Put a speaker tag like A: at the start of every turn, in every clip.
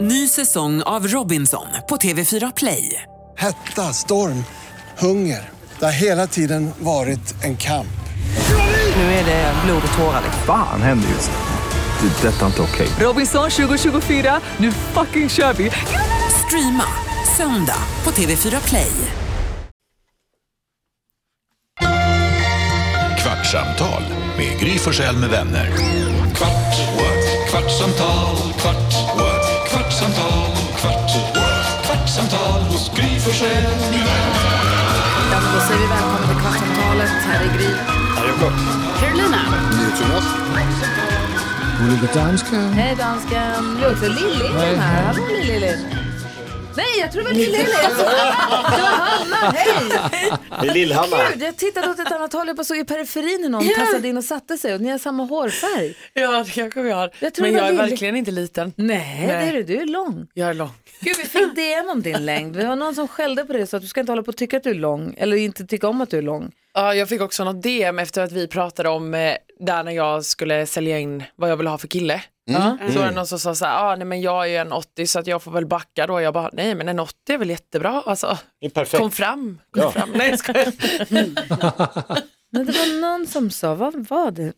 A: Ny säsong av Robinson på TV4 Play.
B: Hetta, storm, hunger. Det har hela tiden varit en kamp.
A: Nu är det blod och tårar.
C: Fan händer just nu. Det. är Detta är inte okej.
A: Robinson 2024, nu fucking kör vi! Streama söndag på TV4 Play.
D: Kvartsamtal med Gry Forssell med vänner. Kvart, what? kvartsamtal, kvart, what? kvartsamtal, kvart, what? kvartsamtal hos Gry Forssell med vänner.
E: Ja, men då säger vi välkomna till Kvartsamtalet. Här är Gry. Carolina. Hej dansken. Jo, också Lill-Lill är här. Hallå Lill-Lill. Nej, jag tror det var Lill-Lill. Jag såg- Det var Hanna. Hej!
F: Det är Lillhammar.
E: Gud, jag tittade åt ett annat håll. Jag bara såg i periferin hur någon tassade in och satte sig. Och ni har samma hårfärg.
G: Ja, det kanske vi har.
E: Jag tror
G: men
E: det
G: jag
E: var
G: är
E: Lille.
G: verkligen inte liten.
E: Nej, det är du. Du är lång.
G: Jag är lång.
E: Gud, vi fick DM om din längd. Det var någon som skällde på dig så att du ska inte hålla på och tycka att du är lång. Eller inte tycka om att du är lång.
G: Ja, jag fick också något DM efter att vi pratade om eh, där när jag skulle sälja in vad jag ville ha för kille.
F: Mm.
G: Så var det någon som sa så här, ah, nej men jag är ju en 80 så att jag får väl backa då. Jag bara, nej men en 80 är väl jättebra. Alltså,
F: Det är perfekt.
G: kom fram, kom
F: Ja.
G: fram. Nej, jag skojar.
E: Men det var någon som sa, vad var det? Eh,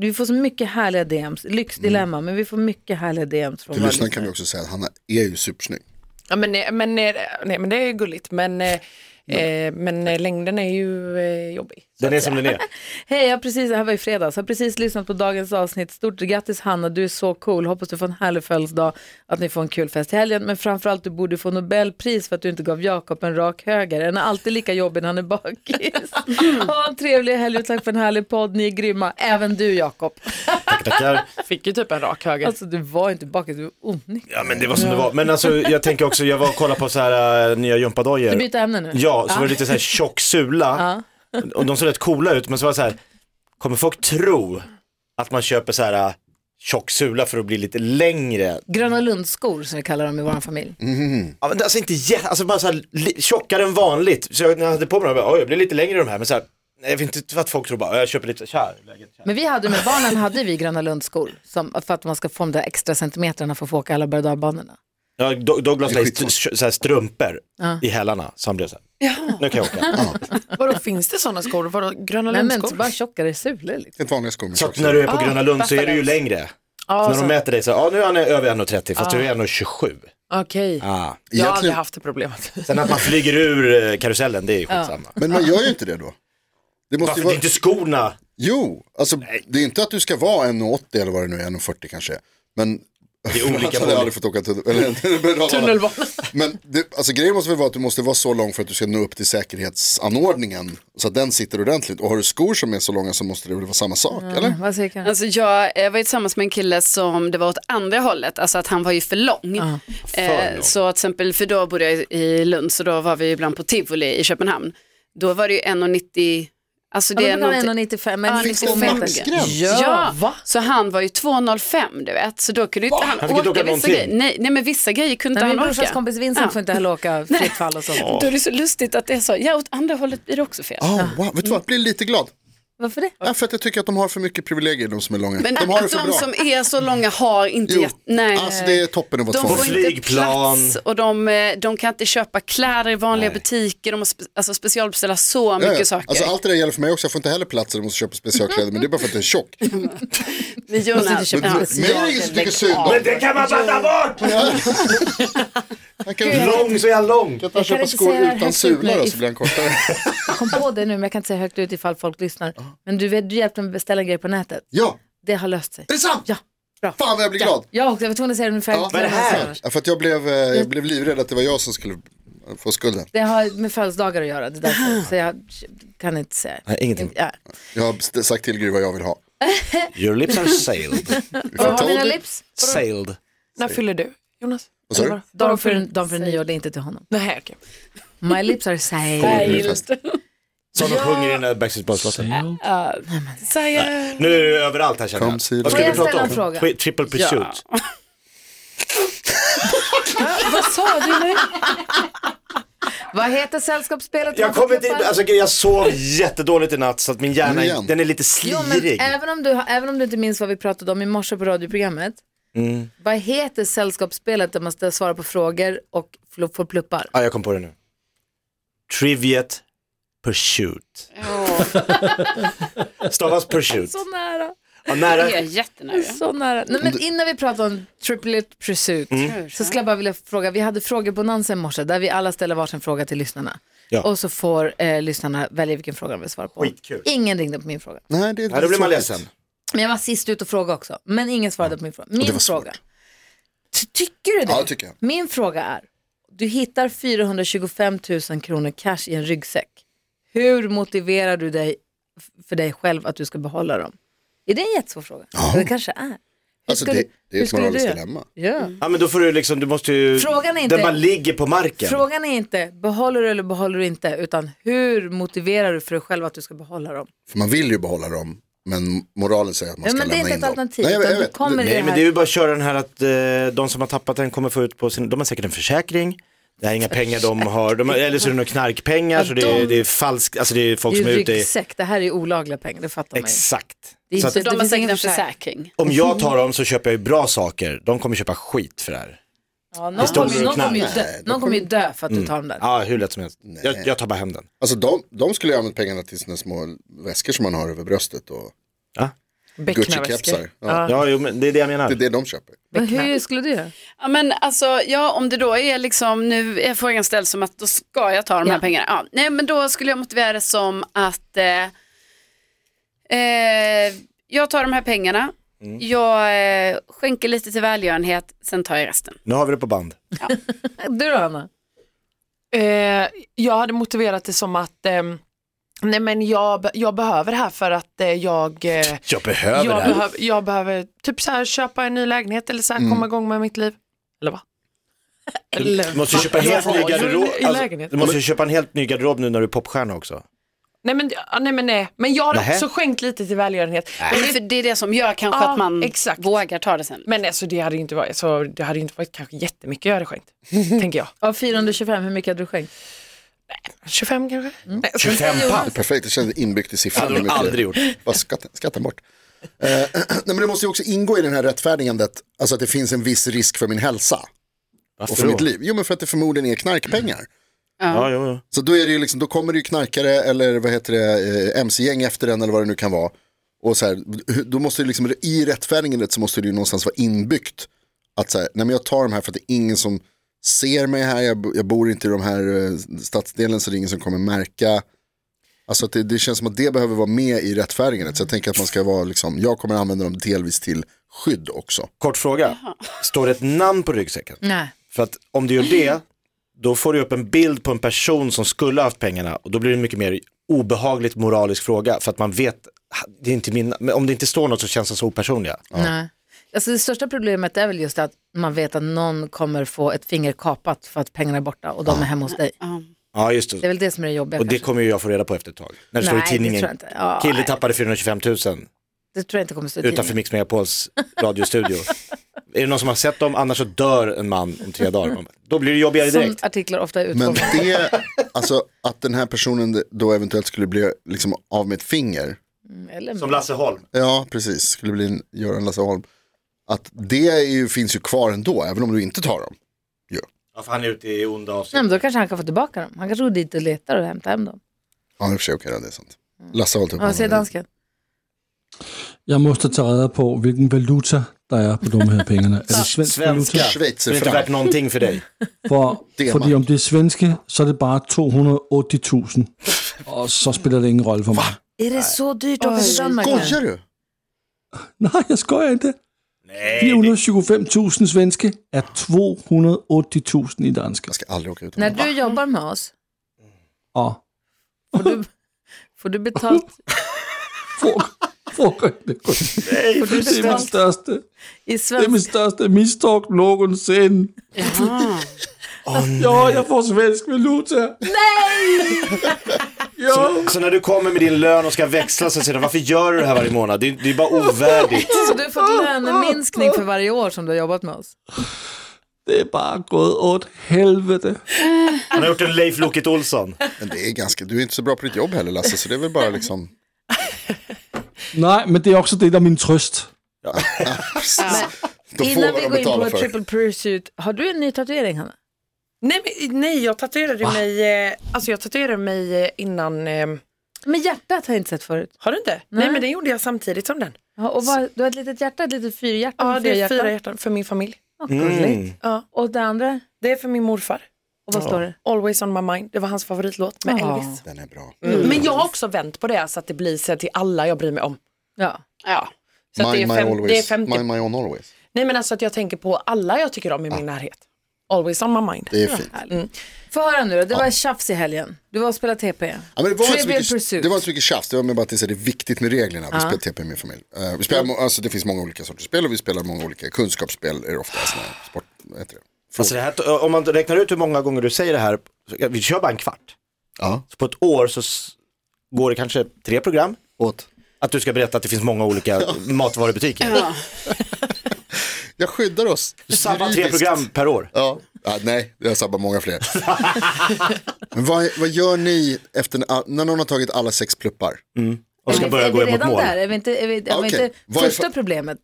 E: Vi får så mycket härliga DMs, lyxdilemma, men vi får mycket härliga DMs från
H: Till
E: våra
H: lyssnaren kan vi
E: lyssnare.
H: också säga att han är ju supersnygg.
G: ja, men, eh, men, eh, nej men det är gulligt, men, eh, eh, men eh, längden är ju eh, jobbig.
F: Den är som den är.
E: Hej, jag precis, det här var i fredags, jag har precis lyssnat på dagens avsnitt. Stort grattis Hanna, du är så cool. Hoppas du får en härlig födelsedag, att ni får en kul fest i helgen. Men framförallt, du borde få Nobelpris för att du inte gav Jakob en rak höger. Den är alltid lika jobbig när han är bakis. ha en trevlig helg och tack för en härlig podd. Ni är grymma, även du Jakob.
F: Tackar, tackar.
G: Fick ju typ en rak höger.
E: Alltså du var inte bakis, du var onykter.
F: Ja men det var som det var. Men alltså jag tänker också, jag var och kollade på så här äh, nya
E: Du
F: gympadojor.
E: byter ämne nu.
F: Ja, så var det lite så här tjock sula. Och de såg rätt coola ut, men så var det så här, kommer folk tro att man köper så här äh, tjock sula för att bli lite längre?
E: Gröna Lundskor som vi kallar dem i vår familj.
F: Ja, men det är alltså inte jä- alltså bara så här li- tjockare än vanligt. Så jag, när jag hade på mig dem, jag bara, "Oj, jag blir lite längre i de här, men så här, nej, jag vet inte vad folk tror bara, jag köper lite så här. läget, så här."
E: Men vi hade med barnen hade vi Gröna Lundskor som, för att man ska få de där extra centimeterna för att få åka alla berg och
F: Ja, Do- Douglas
H: Det är
F: la i st-
H: skitsvårt.
F: så här strumpor
E: Ja.
F: i hälarna, så han blev så här, nu kan jag åka.
G: Vadå, finns det sådana skor? Vadå, gröna
E: Nej men så
G: lundskor?
E: bara tjockare sulor. Liksom.
H: Helt vanliga skor med
F: Så att
H: tjock
F: när du är på
G: Ah,
F: Gröna Lund så är
G: fattar
F: du ju
G: jag.
F: längre.
G: Ja,
F: Så när
G: så-
F: de mäter dig så, ja nu är han över 1,30 fast du är 1,27.
G: Okej, jag
F: Ah.
G: har aldrig
H: Egentligen-
G: haft det problemet.
F: Sen att man flyger ur eh, karusellen, det är ju skitsamma.
H: Men man gör ju inte det då. Det måste
F: Varför det
H: ju
F: är
H: vara...
F: inte skorna?
H: Jo, alltså det är inte att du ska vara 1,80 eller vad det nu är, 1,40 kanske. Men
F: Det är olika
H: Jag hade
F: på-
H: aldrig fått åka tunnel... eller-
G: Tunnelbanan.
H: Men det, alltså, grejen måste väl vara att du måste vara så lång för att du ska nå upp till säkerhetsanordningen. Så att den sitter ordentligt. Och har du skor som är så långa så måste det väl vara samma sak, eller?
E: Mm, Vad säger Karin?
I: Alltså jag eh, var ju tillsammans med en kille som det var åt andra hållet, alltså att han var ju för lång. Eh,
F: För lång.
I: Så till exempel, för då bodde jag i Lund, så då var vi ibland på Tivoli i Köpenhamn. Då var det ju 1,90, alltså
E: Ja,
I: det är
E: men de
I: nog...
E: kan vara 1,95 men
I: Ja,
H: Finns
E: 92
H: det en
E: meter.
H: maxgräns?
I: Ja, så han var ju 2,05 du vet, så då kunde ju inte han,
F: Han fick inte åka
I: vissa
F: någonting.
I: grejer. Nej, nej men vissa grejer kunde
E: Nej, min
I: inte han
E: brorsas
I: åka.
E: kompis Vincent
I: Ja.
E: får inte heller åka fritt fall och sånt.
I: Då är det så lustigt att det är så, ja åt andra hållet blir det också fel.
H: Ja, Ah, wow. Vet du vad, jag blir lite glad.
E: Varför det?
H: Ja, för att jag tycker att de har för mycket privilegier, de som är långa.
I: Men
H: de har det för
I: de
H: bra.
I: som är så långa har inte
H: Jo,
I: jätte- nej.
H: alltså det är toppen att vara
I: De
H: två.
I: får inte
F: Flygplan.
I: plats och de, eh, de kan inte köpa kläder i vanliga butiker. De måste spe, alltså specialbeställa så
H: Ja,
I: mycket
H: ja.
I: saker.
H: Alltså, allt det där gäller för mig också, jag får inte heller plats eller måste köpa specialkläder men det är bara för att jag är tjock.
I: Men Jonas,
H: Men,
I: ja.
H: mig är det ingen som tycker synd om.
F: Men det kan man fatta bort!
H: Jag kan
F: Lång så är jag lång.
H: jag tar
E: kan
H: köpa
E: inte säga
H: skor
E: det här
H: utan
E: högt
H: sulor
E: upp,
H: och så blir han kortare.
E: Jag kom på det nu men jag kan inte säga högt ut ifall folk lyssnar. Men du, vet, du hjälpte mig att beställa grejer på nätet.
H: Ja,
E: Det har löst sig.
H: är det sant?
E: Ja, bra.
H: Fan vad jag blir
E: Ja,
H: glad.
E: jag också, jag var tvungen att säga det ungefär.
H: Ja, vad är det
F: här?
H: Ja, för att jag blev, eh,
E: Mm.
H: jag blev livrädd att det var jag som skulle få skulden.
E: Det har med födelsedagar att göra, det är därför. Så jag kan inte säga.
F: Nej, ingenting.
E: Ja.
H: Jag har st- sagt till Gry vad jag vill ha.
F: Your lips are sailed.
H: If I
E: Vad har
H: told
E: mina
H: you-
E: lips?
F: sailed.
G: När fyller du, Jonas?
H: Vad sa du?
G: Eller vad?
E: De för, de för nyår, det är inte till honom.
G: Nej, okej.
E: My lips are safe.
H: Fest.
F: Som de sjunger i den där Backstreet Boys-låten.
I: Säger-
F: Nu är det överallt här känner
H: Come see
F: jag. Vad ska
E: the-
F: vi
E: Får jag
F: prata om?
E: ställa en
F: Tri- Triple Pursuit.
E: Vad sa du nu? Vad heter sällskapsspelet?
F: Jag kommer inte, alltså jag sov jättedåligt i natt så att min
H: Men
F: hjärna,
H: igen.
F: den är lite
E: Jo, men
F: slirig.
E: även om, du, även om du inte minns vad vi pratade om i morse på radioprogrammet
F: Mm.
E: Vad heter sällskapsspelet där man ska svara på frågor och fl- får pluppar?
F: Ja, Ah, jag kom på det nu. Triviet Pursuit. Stavas Pursuit.
E: Så nära,
F: Ja,
I: Det är
F: nära.
I: jättenära.
E: så nära. Nej,
F: Mm.
E: men innan vi pratar om Triplet Pursuit så skulle jag bara vilja fråga, vi hade frågebonanza i morse där vi alla ställer varsin fråga till lyssnarna.
F: Ja.
E: Och så får eh, lyssnarna välja vilken fråga de vill svara på.
F: Skitkul.
E: Ingen ringde på min fråga.
H: Nej, det är
F: Ja, då blir man
H: tråkigt.
F: ledsen.
E: Men jag var sist ut och frågade också. Men ingen svarade på min fråga.
H: det
E: Min
H: var svårt.
E: fråga. Ty- Tycker du det?
H: Ja, det tycker jag.
E: Min fråga är, du hittar 425 000 kronor cash i en ryggsäck. Hur motiverar du dig f- för dig själv att du ska behålla dem? Är det en jättesvår fråga? Det kanske är. Hur
H: Alltså
E: ska
H: det,
E: du-
H: det är
E: hur
H: ett
E: skulle du
H: moraliskt
E: göra?
H: dilemma.
E: Ja.
H: Mm.
F: Ja, men då får du liksom, du måste ju...
E: Frågan är inte-
F: Den bara ligger på marken.
E: Frågan är inte behåller du eller behåller du inte, utan hur motiverar du för dig själv att du ska behålla dem?
H: För man vill ju behålla dem, men moralen säger att man
E: Ja,
H: ska
E: men det är
H: lämna
E: inte
H: in
E: ett
H: dem.
E: alternativ,
H: Nej, jag, vet-
E: utan
H: jag
E: du
H: vet.
E: kommer i
F: Nej,
E: det
F: men
E: här.
F: det är ju bara att köra den här att eh, de som har tappat den kommer få ut på sin, de har säkert en försäkring. Det här är inga pengar de har, de har eller så är det några knarkpengar, så det är, det är falskt, alltså det är folk
E: Det är
F: som är
E: ju
F: ute i...
E: ryggsäck, det här är ju olagliga pengar, det fattar man ju.
F: Exakt.
E: Det är
F: Så
E: inte-
F: att,
I: Så de har
E: finns ingen
I: säkert en
E: försäkring.
I: försäkring.
F: om jag tar dem så köper jag ju bra saker, de kommer köpa skit för det här.
E: Ja, någon
F: Pistoler
E: kommer
F: och
E: någon
F: knark.
E: kommer ju dö, någon kommer ju dö för att du tar dem där.
F: Ja, hur lätt som helst. Jag, jag tar bara hem den.
H: Alltså de, de skulle ju använt pengarna till sina små väskor som man har över bröstet och Gucci-kepsar. Ja.
F: Ja, jo, men det är det jag menar.
H: Det är det de köper.
E: Men hur skulle du göra?
I: Ja, men alltså, ja, om det då är liksom, nu är frågan ställd som att då ska jag ta de här
E: Ja.
I: pengarna. Ja, nej, men då skulle jag motivera det som att eh, eh, jag tar de här pengarna, jag eh, skänker lite till välgörenhet, sen tar jag resten.
F: Nu har vi det på band.
E: Du då Anna?
G: Eh, jag hade motiverat det som att ehm, nej men jag, be- jag behöver det här för att eh, jag, eh,
F: Jag behöver
G: jag,
F: det här.
G: behöv, jag behöver typ så här köpa en ny lägenhet eller så
F: Mm.
G: här komma igång med mitt liv. Eller va?
F: Du måste ju köpa en helt ny
G: Varför?
F: garderob.
G: I
F: Alltså,
G: lägenhet.
F: du måste ju köpa en helt ny garderob nu när du är popstjärna också.
G: Nej men, ja, nej, men nej. Men jag har
F: Nähä.
G: också skänkt lite till välgörenhet.
I: Men för det är det som gör kanske
G: Ja,
I: att man
G: exakt.
I: vågar ta det sen.
G: Men alltså, det hade ju inte varit, så, det hade ju inte varit kanske jättemycket jag hade skänkt. tänker jag.
E: Av 425, hur mycket hade du skänkt?
G: 25 kanske? Nej,
F: 25
H: Det
F: papp.
H: är perfekt, det känns inbyggt i siffran.
F: Det hade de
H: Hur mycket-
F: aldrig gjort.
H: Bara skatten, skatten bort. Eh, nej, men det måste ju också ingå i den här rättfärdigandet, alltså att det finns en viss risk för min hälsa och för
F: Varför
H: mitt
F: då?
H: liv. Jo, men för att det förmodligen är knarkpengar.
F: Ja, jo, jo.
H: Så då, är det ju liksom, då kommer det ju knarkare eller vad heter det, eh, mc-gäng efter den eller vad det nu kan vara. Och så här, hur- då måste det liksom, i rättfärdigandet så måste det ju någonstans vara inbyggt. Att så här, nej men jag tar de här för att det är ingen som ser mig här, jag, bo- jag bor inte i de här eh, stadsdelen så det är ingen som kommer märka. Alltså att det, det känns som att det behöver vara med i rättfärdigandet. Så jag tänker att man ska vara liksom, jag kommer använda dem delvis till skydd också.
F: Kort fråga. Står det ett namn på ryggsäcken?
E: Nej.
F: För att om du gör det, då får du upp en bild på en person som skulle ha haft pengarna och då blir det en mycket mer obehagligt moralisk fråga för att man vet, det är inte min, men om det inte står något så känns det så opersonliga.
E: Nej. Alltså det största problemet är väl just att man vet att någon kommer få ett finger kapat för att pengarna är borta och de är hemma hos dig.
F: Ja, just
E: Det är
F: det.
E: väl det som är det jobbiga.
F: Och det
E: kanske.
F: kommer ju jag få reda på efter ett tag. När det står i
E: Nej, det
F: tidningen,
E: tror jag inte. Ja,
F: kille
E: nej.
F: tappade 425 000
E: det tror jag inte kommer stå i
F: utanför
E: tidningen.
F: Mix Megapols radiostudio. är det någon som har sett dem? Annars så dör en man om tre dagar. Mm. Då blir det jobbigare
E: Som
F: direkt.
E: artiklar ofta är
H: Men
E: utformade.
H: det, alltså att den här personen då eventuellt skulle bli liksom av med ett finger.
E: Eller
F: Som Lasse Holm.
H: Ja, precis. Skulle bli en Göran Lasse Holm. Att det är ju, finns ju kvar ändå, även om du inte tar dem.
F: Ja, för han är ute i onda
E: Nej, men
F: avsikter.
E: då kanske han kan få tillbaka dem. Han kanske går dit och letar och hämtar hem dem.
H: Ja, i och för sig, okej, då, det är sant. Lasse har hållit upp
E: Ja, vad
F: Mm.
E: säger
H: handen.
E: dansken?
J: Jag måste ta reda på vilken valuta der är på de här pengarna. Är det svensk
F: Svenska,
J: valuta?
F: det
H: Schweizer
F: är inte värt någonting för dig.
J: For,
H: Det er
J: fordi om det er svenske, så er det bare 280.000. Og så spiller det ingen rolle for mig.
E: Är det så dyrt att åka till Danmark? nu?
H: Skojar du?
J: Nej, jeg skojer ikke.
F: Nej,
J: 425.000 svenske er 280.000 i danske.
H: Jag ska aldrig åka ut.
E: När du jobbar med oss,
J: Og
E: får du, får du betalt
J: for, for, det, det er min største,
E: i
J: det er min
E: svensk...
J: største mistog nogensinde. Jo, jeg får svensk valuta. Nej!
F: Så när du kommer med din lön och ska växla så säger de, varför gör du det här varje månad? Det är, det är bara ovärdigt.
E: Så du har fått löneminskning för varje år som du har jobbat med oss?
J: Det er bare gået åt helvede.
F: Han har gjort en Leif Loket Olsson.
H: Men det är ganska, du är inte så bra på ditt jobb heller Lasse, så det är väl bara liksom.
J: Nej, men det er også det, der er min trøst.
H: Precis. Då får
E: Innan
H: vad
E: vi
H: de
E: går in
H: betalar
E: på
H: för.
E: triple pursuit, har du en ny tatuering Hanna?
G: Nej, men, nej jag tatuerade mig, eh, alltså jag tatuerade mig eh, innan, eh,
E: Men hjärtat har jag inte sett förut.
G: har du inte? Nej. men det gjorde jag samtidigt som den.
E: Ja, och vad, du har ett litet hjärta, ett litet fyrhjärta
G: Ja
E: med
G: det är
E: hjärtan.
G: fyra hjärtan för min familj.
E: Vad
H: Mm.
E: gulligt.
G: Ja.
E: Och det andra,
G: Det är för min morfar.
E: och vad står det?
G: Always on my mind, det var hans favoritlåt med
E: Ja.
G: Elvis.
H: Den är bra.
E: Mm.
I: Mm.
G: Men jag har också vänt på det så att det blir så till alla jag bryr mig om.
E: Ja.
G: Ja. Så att det,
H: Mind
G: är
H: my
G: fem, det är
H: always.
G: 50.
H: Mind my own always.
G: Nej men alltså att jag tänker på alla jag tycker om i min närhet. Always on my mind.
H: Det är fint.
E: Få höra nu då, det var tjafs i helgen. Du var och spelade TP.
H: Ja, men det, var inte så
E: Trivial
H: mycket,
E: Pursuit.
H: det var inte så mycket tjafs, det var mer bara att det är viktigt med reglerna. Vi spelar TP i min familj. Eh, vi spelar, må- alltså, det finns många olika sorters spel och vi spelar många olika kunskapsspel. Är det ofta, såna här sport, vad heter det? Frågor.
F: Alltså det här, om man räknar ut hur många gånger du säger det här, så- vi kör bara en kvart.
H: ja.
F: Så på ett år så s- går det kanske tre program.
H: Åt.
F: Att du ska berätta att det finns många olika matvarubutiker.
I: Ja.
H: Jag skyddar oss.
F: Samma tre
H: juridiskt.
F: program per år.
H: Ja. Ja, nej, jag sabbar många fler. Men vad, vad gör ni efter ah, när någon har tagit alla sex pluppar?
F: Och ska börja
E: är
F: gå
E: vi
F: mot
E: redan
F: mål.
E: där? Är vi inte, är vi, har vi
H: Okej.
E: inte,
H: Vad är
E: första
H: för-
E: problemet,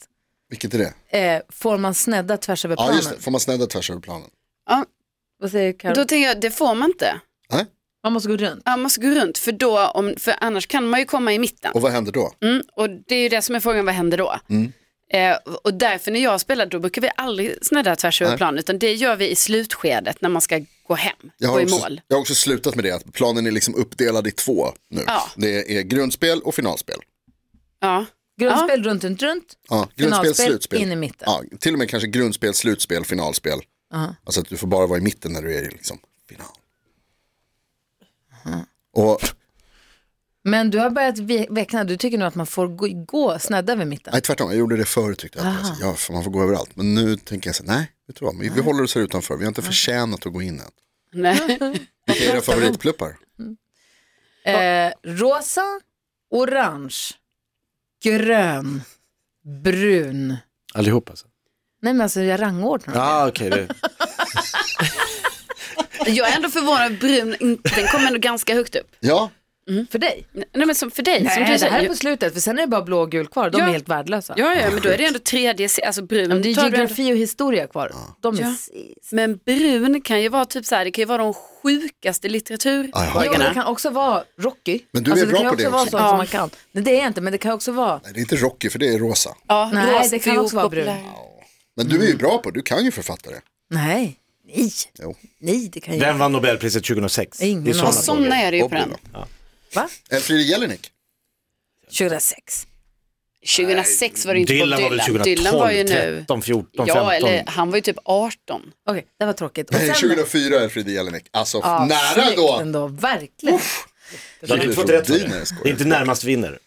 H: Vilket är det?
E: eh, får man snedda tvärs över
H: Ja,
E: planen?
H: just det. Får man snedda tvärs över planen?
I: Ja,
E: Vad säger Karo?
I: då tänker jag, det får man inte.
H: Nej.
E: Man måste gå runt.
I: Man måste gå runt, för, då, om, för annars kan man ju komma i mitten.
H: Och Mm. vad händer då?
I: Mm, och det är ju det som är frågan, vad händer då? Eh, och därför när jag spelar, då brukar vi aldrig snedda tvärs över
H: Nej.
I: plan, utan det gör vi i slutskedet när man ska gå hem,
H: Jag
I: gå
H: har,
I: i
H: också,
I: mål.
H: jag har också slutat med det, att planen är liksom uppdelad i två nu.
I: Ja.
H: Det är grundspel och finalspel.
I: Ja.
E: Grundspel runt, runt, runt.
H: Ja, grundspel,
E: Finalspel,
H: slutspel.
E: in i mitten.
H: Ja, till och med kanske grundspel, slutspel, finalspel. Alltså att du får bara vara i mitten när du är i liksom final. Och
E: Men du har börjat ve- veckna, du tycker nu att man får gå, gå snedda över mitten.
H: nej, tvärtom, jag gjorde det förut tyckte jag. Alltså, ja, för man får gå överallt. Men nu tänker jag så här, nej, vet du vad, vi, vi håller oss här utanför. Vi har inte förtjänat att gå in än.
I: Nej.
H: Vilka är era favoritpluppar?
E: Eh, rosa, orange, grön, brun.
F: Allihop alltså.
E: Nej men alltså jag rangordnar. dem.
F: Ja, okej. det-
I: Jag är ändå förvånad, brun, inte- den kommer ändå ganska högt upp.
H: Ja,
E: För dig?
I: Nej men som för dig, som
E: Nej,
I: du
E: det här är på
I: säger.
E: slutet, för sen är det bara blå och gul kvar. De
I: Ja.
E: är helt värdelösa.
I: Ja, ja, men då är det ändå tredje, se- alltså brun.
E: Men det
I: tar
E: är
I: du ändå-
E: geografi och historia kvar. De är
I: Ja.
E: sist.
I: Men brun kan ju vara typ så här, det kan ju vara de sjukaste
E: Jo, det
I: litteraturbögarna.
E: kan också vara Rocky.
H: Men du är
E: alltså, det
H: bra
E: kan
H: på
E: också
H: det
E: vara
H: också.
E: sånt
I: Ja.
E: som man kan. Nej, det är jag inte, men det kan också vara.
H: nej, det är inte Rocky för det är rosa.
I: Ja,
E: Nej,
I: rosa
E: det kan
I: är
E: också vara
I: opopulär.
E: brun.
H: Men du är
F: Mm.
H: ju bra på det, du kan ju författare.
E: Nej, nej,
H: Jo.
E: nej, det kan jag
F: Den
E: inte.
F: vann Nobelpriset 2006.
E: Ingen
F: Det är såna
E: aning.
I: Ja, sådana är det ju på den.
E: Va?
H: Elfriede Jelinek.
E: 2006.
I: 2006 var det inte
F: Dylan
I: Bob
F: var
I: Dylan.
F: väl 2012,
I: Dylan var ju nu...
F: 13, 14,
I: Ja,
F: 15.
I: eller han var ju typ 18.
E: Okej, det var tråkigt. Och
H: Nej,
E: sen-
H: 2004 Elfriede Jelinek. Alltså,
E: Ja,
H: nära
E: snyggt
H: ändå.
E: ändå. Verkligen.
F: Du hade inte fått rätt för det. Det är inte närmast vinner.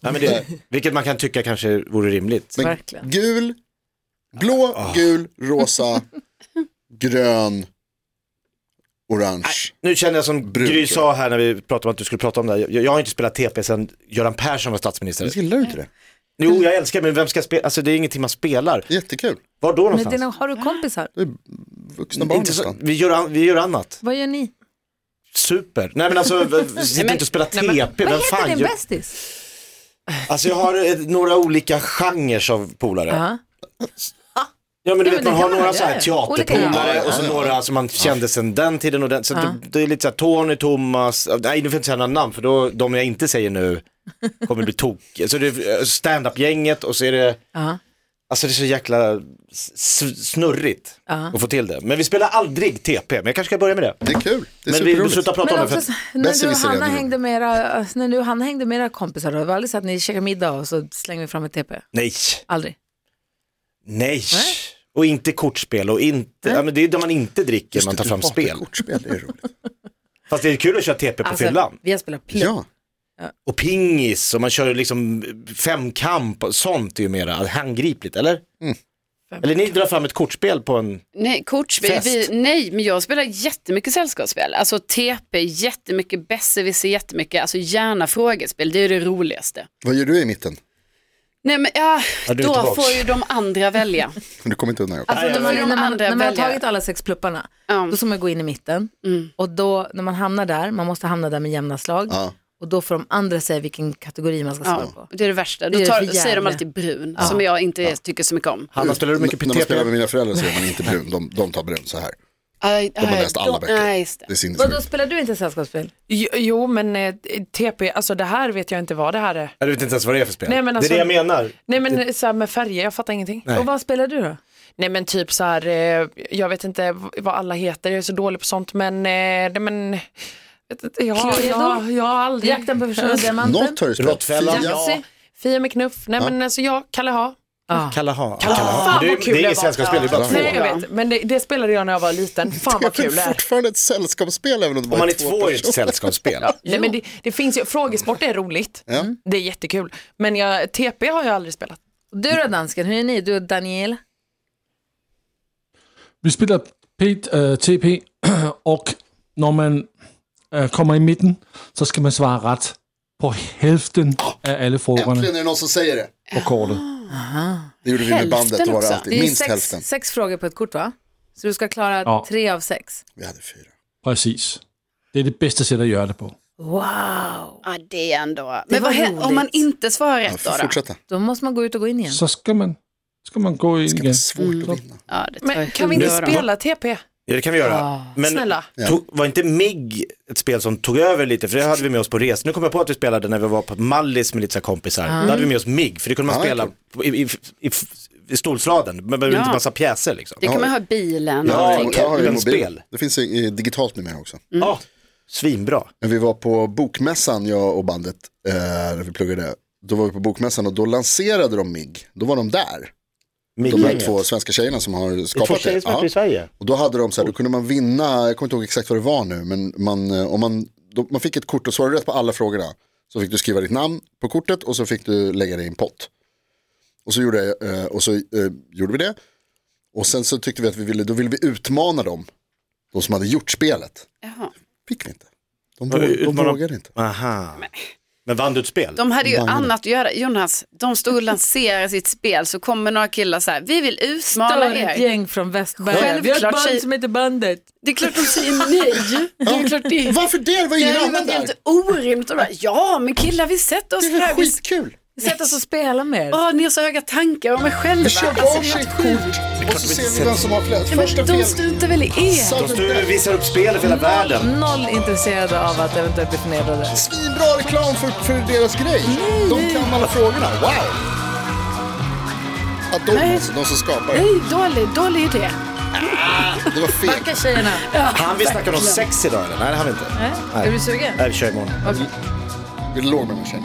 F: Nej, men det, vilket man kan tycka kanske vore rimligt.
H: Men
E: Verkligen.
H: gul, blå,
F: Ah.
H: gul, rosa, grön, orange.
F: Nu känner jag som
H: Brun,
F: Gry
H: tror
F: sa här när vi pratade om att du skulle prata om det här. Jag, jag har inte spelat TP sedan Göran Persson var statsminister.
H: Gillar du inte det?
F: Jo, jag älskar men vem ska spela? Alltså det är ingenting man spelar.
H: Jättekul.
F: Var då
E: Men
F: någonstans?
E: dina, har du kompisar?
H: Vuxna barn
F: Inte så,
H: nästan.
F: vi, gör, an- vi gör annat.
E: Vad gör ni?
F: Super. Nej men alltså, v- v- sitta inte och spela TP.
E: Vad
F: Vem
E: heter
F: fan
E: din
F: gör...
E: bästis?
F: Alltså jag har eh, några olika genrer av polare.
E: Ja.
F: Ja men du
E: Ja, men
F: vet man
E: det
F: har
E: kan man
F: några
E: göra.
F: så här
E: Olika
F: teaterpolare
H: genrer.
F: och så
H: Ja, ja,
F: några som man kände sedan den tiden och den. Så att det, det är lite så här Tony, Thomas, eh, nej nu får jag inte säga några namn för då, de jag inte säger nu kommer bli tok. Så det är eh, stand-up-gänget och så är det,
E: Ja.
F: alltså det är så jäkla s- snurrigt att få till det. Men vi spelar aldrig TP, men jag kanske ska börja med det.
H: Det är kul. Det är
F: Men vi, vi
H: superroligt.
F: slutar prata
E: Men
F: om det för
E: också,
F: att,
E: så- när du, och
H: besserwisser är
E: Hanna
H: det.
E: hängde med era, alltså, när du och Hanna hängde med era kompisar, då, var det aldrig så att ni käkade middag och så slänger vi fram ett TP?
F: nej,
E: Aldrig.
F: nej. Och inte kortspel och inte, ja, men det är där man inte dricker, man tar fram
H: Du hatar
F: spel.
H: Kortspel, det är roligt.
F: Fast det är kul att köra TP på
G: Alltså-
F: fyllan.
E: Alltså, vi har spelat play.
H: Ja,
F: och pingis och man kör liksom femkamp och sånt är ju mera handgripligt, eller? Mm. Eller ni drar fram ett kortspel på en...
I: Nej, kortspel,
F: Fest.
I: vi, nej, men jag spelar jättemycket sällskapsspel. Alltså TP, jättemycket besserwisser, jättemycket. Alltså gärna frågespel, det är ju det roligaste.
H: vad gör du i mitten?
I: Nej, men ja,
F: Ja, du är
I: då
F: tillbaks.
I: får ju de andra välja.
H: Du kommer inte undan. Jakob.
I: Alltså, då får ju
E: när,
I: de
E: man,
I: andra
E: när man har
I: välja.
E: tagit alla sex plupparna,
I: Ja. Mm.
E: då ska man gå in i mitten. Och då, när man hamnar där, man måste hamna där med jämna slag.
H: Ja.
E: Och då får de andra säga vilken kategori man ska svara på.
I: Ja, det är det värsta.
E: Det är
I: Då tar,
E: för jävla.
I: säger de alltid brun, som jag inte tycker så mycket om.
F: Hanna, spelar du mycket
H: När man
F: PT?
H: spelar med mina föräldrar så är man inte brun, de, de tar brun så här.
I: Aj,
H: De har
I: aj,
H: läst alla
I: de-
H: böcker.
I: Nej, just det.
H: Det är
E: Vadå,
H: sinnessjukt.
E: spelar du inte sällskapsspel?
G: Jo, Jo, men eh, TP, alltså det här vet jag inte vad det här är.
F: Jag vet inte ens vad det är för spel.
G: Nej, men alltså-
F: det är det jag menar.
G: Nej men eh, så här med färger, jag fattar ingenting.
F: Nej.
E: Och vad spelar du då?
G: Nej men typ så här, eh, jag vet inte v- vad alla heter, jag är så dålig på sånt men, eh, nej men, vet inte, jag,
E: Cluedo?
G: jag, jag har aldrig.
E: Jakten på försvunna diamanten?
H: Något har du spelat.
F: Råttfällan.
H: Fia.
G: Jaxi, Fia med knuff, nej men alltså jag, Kalle Ha.
F: Kalle Ha. Kalle ha. Det,
G: vad
F: är-
G: kul
F: det är
G: det
F: inget
G: var.
F: sällskapsspel, det är bara
H: Ja.
F: två.
G: Nej jag vet, men det, det spelade jag när jag var liten, fan vad
H: Det är
G: kul det
H: väl
G: är.
H: fortfarande ett sällskapsspel även om det
F: Om
H: bara
F: man
H: är
F: är
H: två
F: två i ett
H: personer.
F: sällskapsspel.
G: Nej men det, det finns ju, frågesport är roligt, Mm. det är jättekul. Men jag, TP har jag aldrig spelat.
E: Du då dansken, hur är ni? Du och Daniel?
J: Vi spelar Pete, øh, TP, och när man øh, kommer i mitten, så ska man svara rätt på hälften av alla frågorna
H: Äntligen är det någon som säger det.
J: på kortet.
H: Det gjorde vi med
I: Hälften
H: bandet, då var det
I: också.
H: alltid
E: Det är
H: minst
E: sex,
H: hälften.
E: sex frågor på ett kort va? Så du ska klara
J: Ja.
E: tre av sex.
H: Vi hade fyra.
J: Precis. Det är det bästa sättet att göra det på.
E: Wow!
I: Ja, det är ändå.
E: Det
I: Men vad
E: var
I: händer om
E: roligt.
I: man inte svarar
H: Ja,
I: rätt
H: får
I: då? då?
H: fortsätta.
E: Då måste man gå ut och gå in igen.
J: Så ska man, ska man gå in
H: Det ska vara
J: igen.
H: svårt att vinna.
I: Ja, det tar
G: Men
I: ju
G: kan vi inte
I: hundra år.
G: spela TP?
F: Ja, det kan vi göra.
E: Ah,
F: Men
G: snälla.
F: to- var inte MIG ett spel som tog över lite? För det hade vi med oss på resor. Nu kommer jag på att vi spelade när vi var på Mallis med lite så här kompisar. Då hade vi med oss MIG, för det kunde man
H: Ja,
F: spela
H: det
F: på- i, i, i, i stolsraden. Man behövde
I: Ja.
F: inte massa pjäser liksom.
I: Det kan man ha i bilen.
F: Ja,
I: och
H: Jag har-
I: allting.
H: jag har ju
F: Men
H: mobil.
F: spel.
H: Det finns eh, digitalt numera också.
F: Ja, svinbra.
H: När vi var på bokmässan, jag och bandet, eh, när vi pluggade, då var vi på bokmässan och då lanserade de MIG. Då var de där, de här
F: MIG-gänget.
H: två svenska tjejerna som har
F: Det är två
H: skapat
F: tjejer
H: det.
F: som är
H: Ja.
F: i Sverige.
H: Och då hade de så här, då kunde man vinna, jag kommer inte ihåg exakt vad det var nu, men man, eh, om man, då, man fick ett kort och svarade du rätt på alla frågorna. Så fick du skriva ditt namn på kortet och så fick du lägga det i en pott. Och så gjorde, jag, eh, och så, eh, gjorde vi det. Och sen så tyckte vi att vi ville, då ville vi utmana dem, de som hade gjort spelet.
I: Jaha.
H: Fick vi inte. De,
F: Ja,
H: våg, de
F: utmana-
H: vågade inte.
F: Aha. Men vann du ett spel?
I: De hade ju
H: Bangade.
I: annat att göra. Jonas, de stod och lanserade sitt spel så kommer några killar så här, vi vill utmana
E: Stör ett
I: er.
E: gäng från Västberga.
I: Självklart
E: Vi har ett band
I: tjej-
E: som heter Bandet.
I: Det är klart de säger nej. Det är klart det.
H: Varför det? Det var
I: Det
H: ingen
I: är
H: annan
I: ju
H: där.
I: helt orimligt. Och de bara, Ja, men killar vi sätter oss
H: Det är
I: där.
H: väl
I: Vi
H: skitkul.
E: Sätt oss och spela med er.
I: Åh, ni har så höga tankar om er själva.
H: Vi kör
I: Alltså, det är
H: varsitt
I: helt sjukt.
H: kort och så ser vi vem som har flest.
I: Nej,
H: Första
I: men
H: fel.
I: de struntar väl i er.
F: De står och visar upp spel i hela världen.
E: Noll intresserade av att eventuellt bli förnedrade.
H: Svinbra reklam för, för deras grej. De kan alla frågorna. Wow! Ja, de, alltså, de som skapar det.
I: Nej, dålig, dålig idé.
H: Det var fegt.
E: Backa tjejerna.
F: Han vill snacka om sex idag eller? Nej, det har vi inte.
E: Nej. Är du sugen?
F: Nej, vi kör imorgon.
H: Vi låg med den här tjejen.